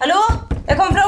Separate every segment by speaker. Speaker 1: Hallo? Jeg kommer fra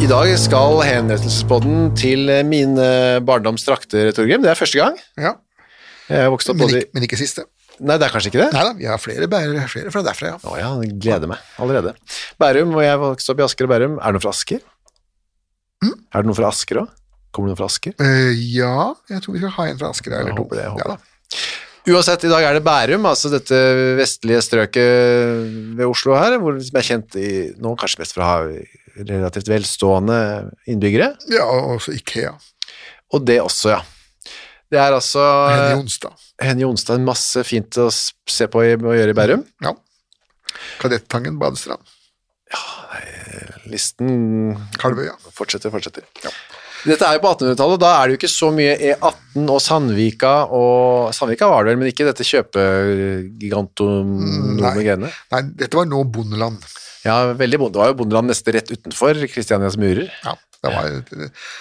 Speaker 2: I dag skal henrettelsespodden til mine barndomstrakter, Torgrim. Det er første gang.
Speaker 3: Ja,
Speaker 2: Jeg har vokst opp
Speaker 3: men
Speaker 2: både
Speaker 3: ikke, men ikke siste.
Speaker 2: Nei, det er kanskje ikke det?
Speaker 3: Nei da, vi har flere bærere flere fra derfra, ja.
Speaker 2: Å ja, jeg gleder meg allerede. Bærum, og jeg vokste opp i Asker og Bærum. Er det noen fra Asker?
Speaker 3: Mm.
Speaker 2: Er det noen fra Asker òg? Kommer det noen fra Asker?
Speaker 3: Eh, ja, jeg tror vi skal ha en fra Asker eller
Speaker 2: Jeg
Speaker 3: to.
Speaker 2: håper det, jeg
Speaker 3: ja,
Speaker 2: håper
Speaker 3: da.
Speaker 2: Uansett, i dag er det Bærum, altså dette vestlige strøket ved Oslo her, hvor, som er kjent i, nå kanskje mest for å ha relativt velstående innbyggere.
Speaker 3: ja, og også Ikea.
Speaker 2: Og det også, ja. Det er altså
Speaker 3: Henny Jonstad.
Speaker 2: Henny Jonstad, en masse fint å s- se på i- og gjøre i Bærum.
Speaker 3: Ja. Kadettangen badestrand.
Speaker 2: Listen
Speaker 3: Kalvøya.
Speaker 2: fortsetter, fortsetter. Dette er jo på 1800-tallet, og da er det jo ikke så mye E18 og Sandvika og Sandvika var det vel, men ikke dette kjøpegigantonome
Speaker 3: nei.
Speaker 2: greiene.
Speaker 3: Nei, dette var nå bondeland.
Speaker 2: Ja, veldig bonde. Det var jo bondeland nesten rett utenfor Kristianias murer.
Speaker 3: Ja, det var,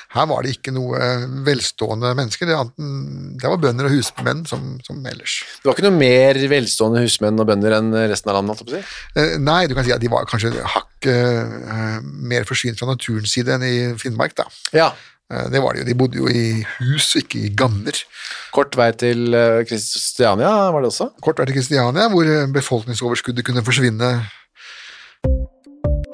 Speaker 3: her var det ikke noe eh, velstående mennesker. Det, annet enn- det var bønder og husmenn som, som ellers.
Speaker 2: Det var ikke noe mer velstående husmenn og bønder enn resten av landet, holdt jeg på å si.
Speaker 3: Eh, Nei, du kan si at de var kanskje hakket eh, mer forsynt fra naturens side enn i Finnmark, da.
Speaker 2: Ja,
Speaker 3: Eh, Det var det jo. De bodde jo i hus, ikke i gammer.
Speaker 2: kort vei til eh, Kristiania var det også.
Speaker 3: Kort vei til Kristiania, hvor eh, befolkningsoverskuddet kunne forsvinne.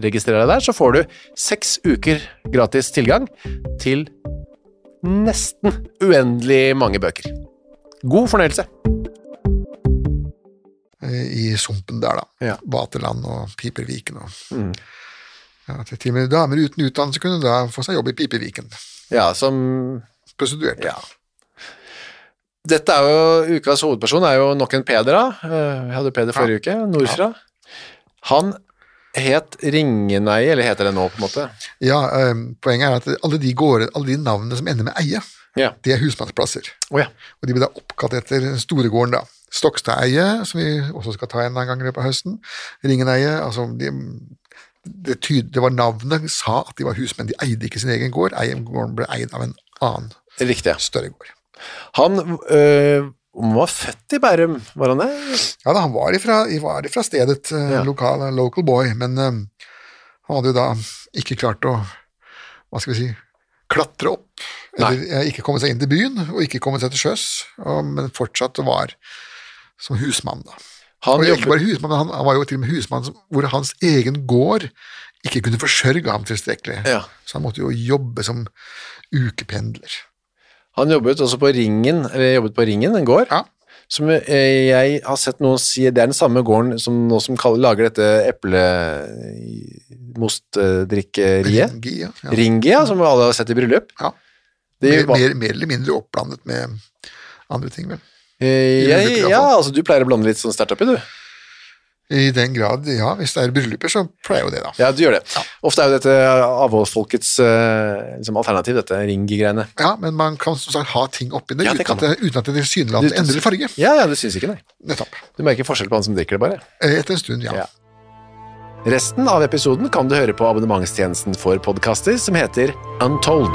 Speaker 2: Registrer deg der, så får du seks uker gratis tilgang til nesten uendelig mange bøker. God fornøyelse!
Speaker 3: eh, i sumpen der, da.
Speaker 2: Ja.
Speaker 3: Vaterland og Piperviken og ja, til- Til og med damer uten utdannelse kunne da få seg jobb i Piperviken.
Speaker 2: Ja, som
Speaker 3: Prostituerte.
Speaker 2: Ja. Dette er jo ukas hovedperson, er jo nok en Peder da. Eh, Vi hadde jo Peder forrige uke, nordfra. Han het Ringeneie, eller heter det nå på en måte?
Speaker 3: Ja, eh, Poenget er at alle de, gårde, alle de navnene som ender med eie,
Speaker 2: Ja.
Speaker 3: det er husmannsplasser.
Speaker 2: Å ja.
Speaker 3: Og de ble da oppkalt etter Storegården, da. Stokstadeie, som vi også skal ta en annen gang i løpet av høsten. Ringeneie. altså de, det, tyd, det var navnet sa at de var husmenn, de eide ikke sin egen gård. Eie- Gården ble eid av en annen,
Speaker 2: Riktig.
Speaker 3: større gård.
Speaker 2: Han øh, Han var født i Bærum, var han det?
Speaker 3: Ja, da, han var ifra, var ifra stedet, eh,
Speaker 2: Ja.
Speaker 3: lokal, local boy, men eh, han hadde jo da ikke klart å, hva skal vi si, klatre opp,
Speaker 2: Nei.
Speaker 3: eller eh, ikke kommet seg inn til byen, og ikke kommet seg til sjøs, og, men fortsatt var som husmann da.
Speaker 2: Han
Speaker 3: og ikke
Speaker 2: jobber,
Speaker 3: bare husmann, men han, han var jo til og med husmann som- hvor hans egen gård ikke kunne forsørge ham tilstrekkelig.
Speaker 2: Ja.
Speaker 3: Så han måtte jo jobbe som ukependler.
Speaker 2: han jobbet også på Ringen, eller jobbet på Ringen, en gård,
Speaker 3: Ja.
Speaker 2: som eh, jeg har sett noen si, det er den samme gården som nå som kall- lager dette eh, eplemostdrikkeriet,
Speaker 3: Ringi, ja. ja.
Speaker 2: Ringia, som alle har sett i bryllup.
Speaker 3: Ja.
Speaker 2: Det
Speaker 3: Mer,
Speaker 2: var-
Speaker 3: mer, mer eller mindre oppblandet med andre ting, vel.
Speaker 2: Eh,
Speaker 3: I
Speaker 2: Jeg,
Speaker 3: bryllup, i hvert
Speaker 2: ja,
Speaker 3: fall.
Speaker 2: altså du pleier å blande litt sånn sterkt oppi, du.
Speaker 3: I den grad, ja, hvis det er brylluper, så pleier jo det, da.
Speaker 2: Ja, du gjør det. Ofte er jo dette avholdsfolkets eh, liksom, alternativ, dette ringgreiene.
Speaker 3: Ja, men man kan som sagt ha ting oppi det,
Speaker 2: Ja, det
Speaker 3: uten,
Speaker 2: kan
Speaker 3: at det uten at det tilsynelatende
Speaker 2: Uten-
Speaker 3: endrer farge.
Speaker 2: Ja, ja, du syns ikke, nei.
Speaker 3: Nettopp.
Speaker 2: Du merker forskjell på han som drikker det, bare.
Speaker 3: Eh, Etter en stund, ja.
Speaker 2: Ja. Resten av episoden kan du høre på abonnementstjenesten for podkaster som heter Untold.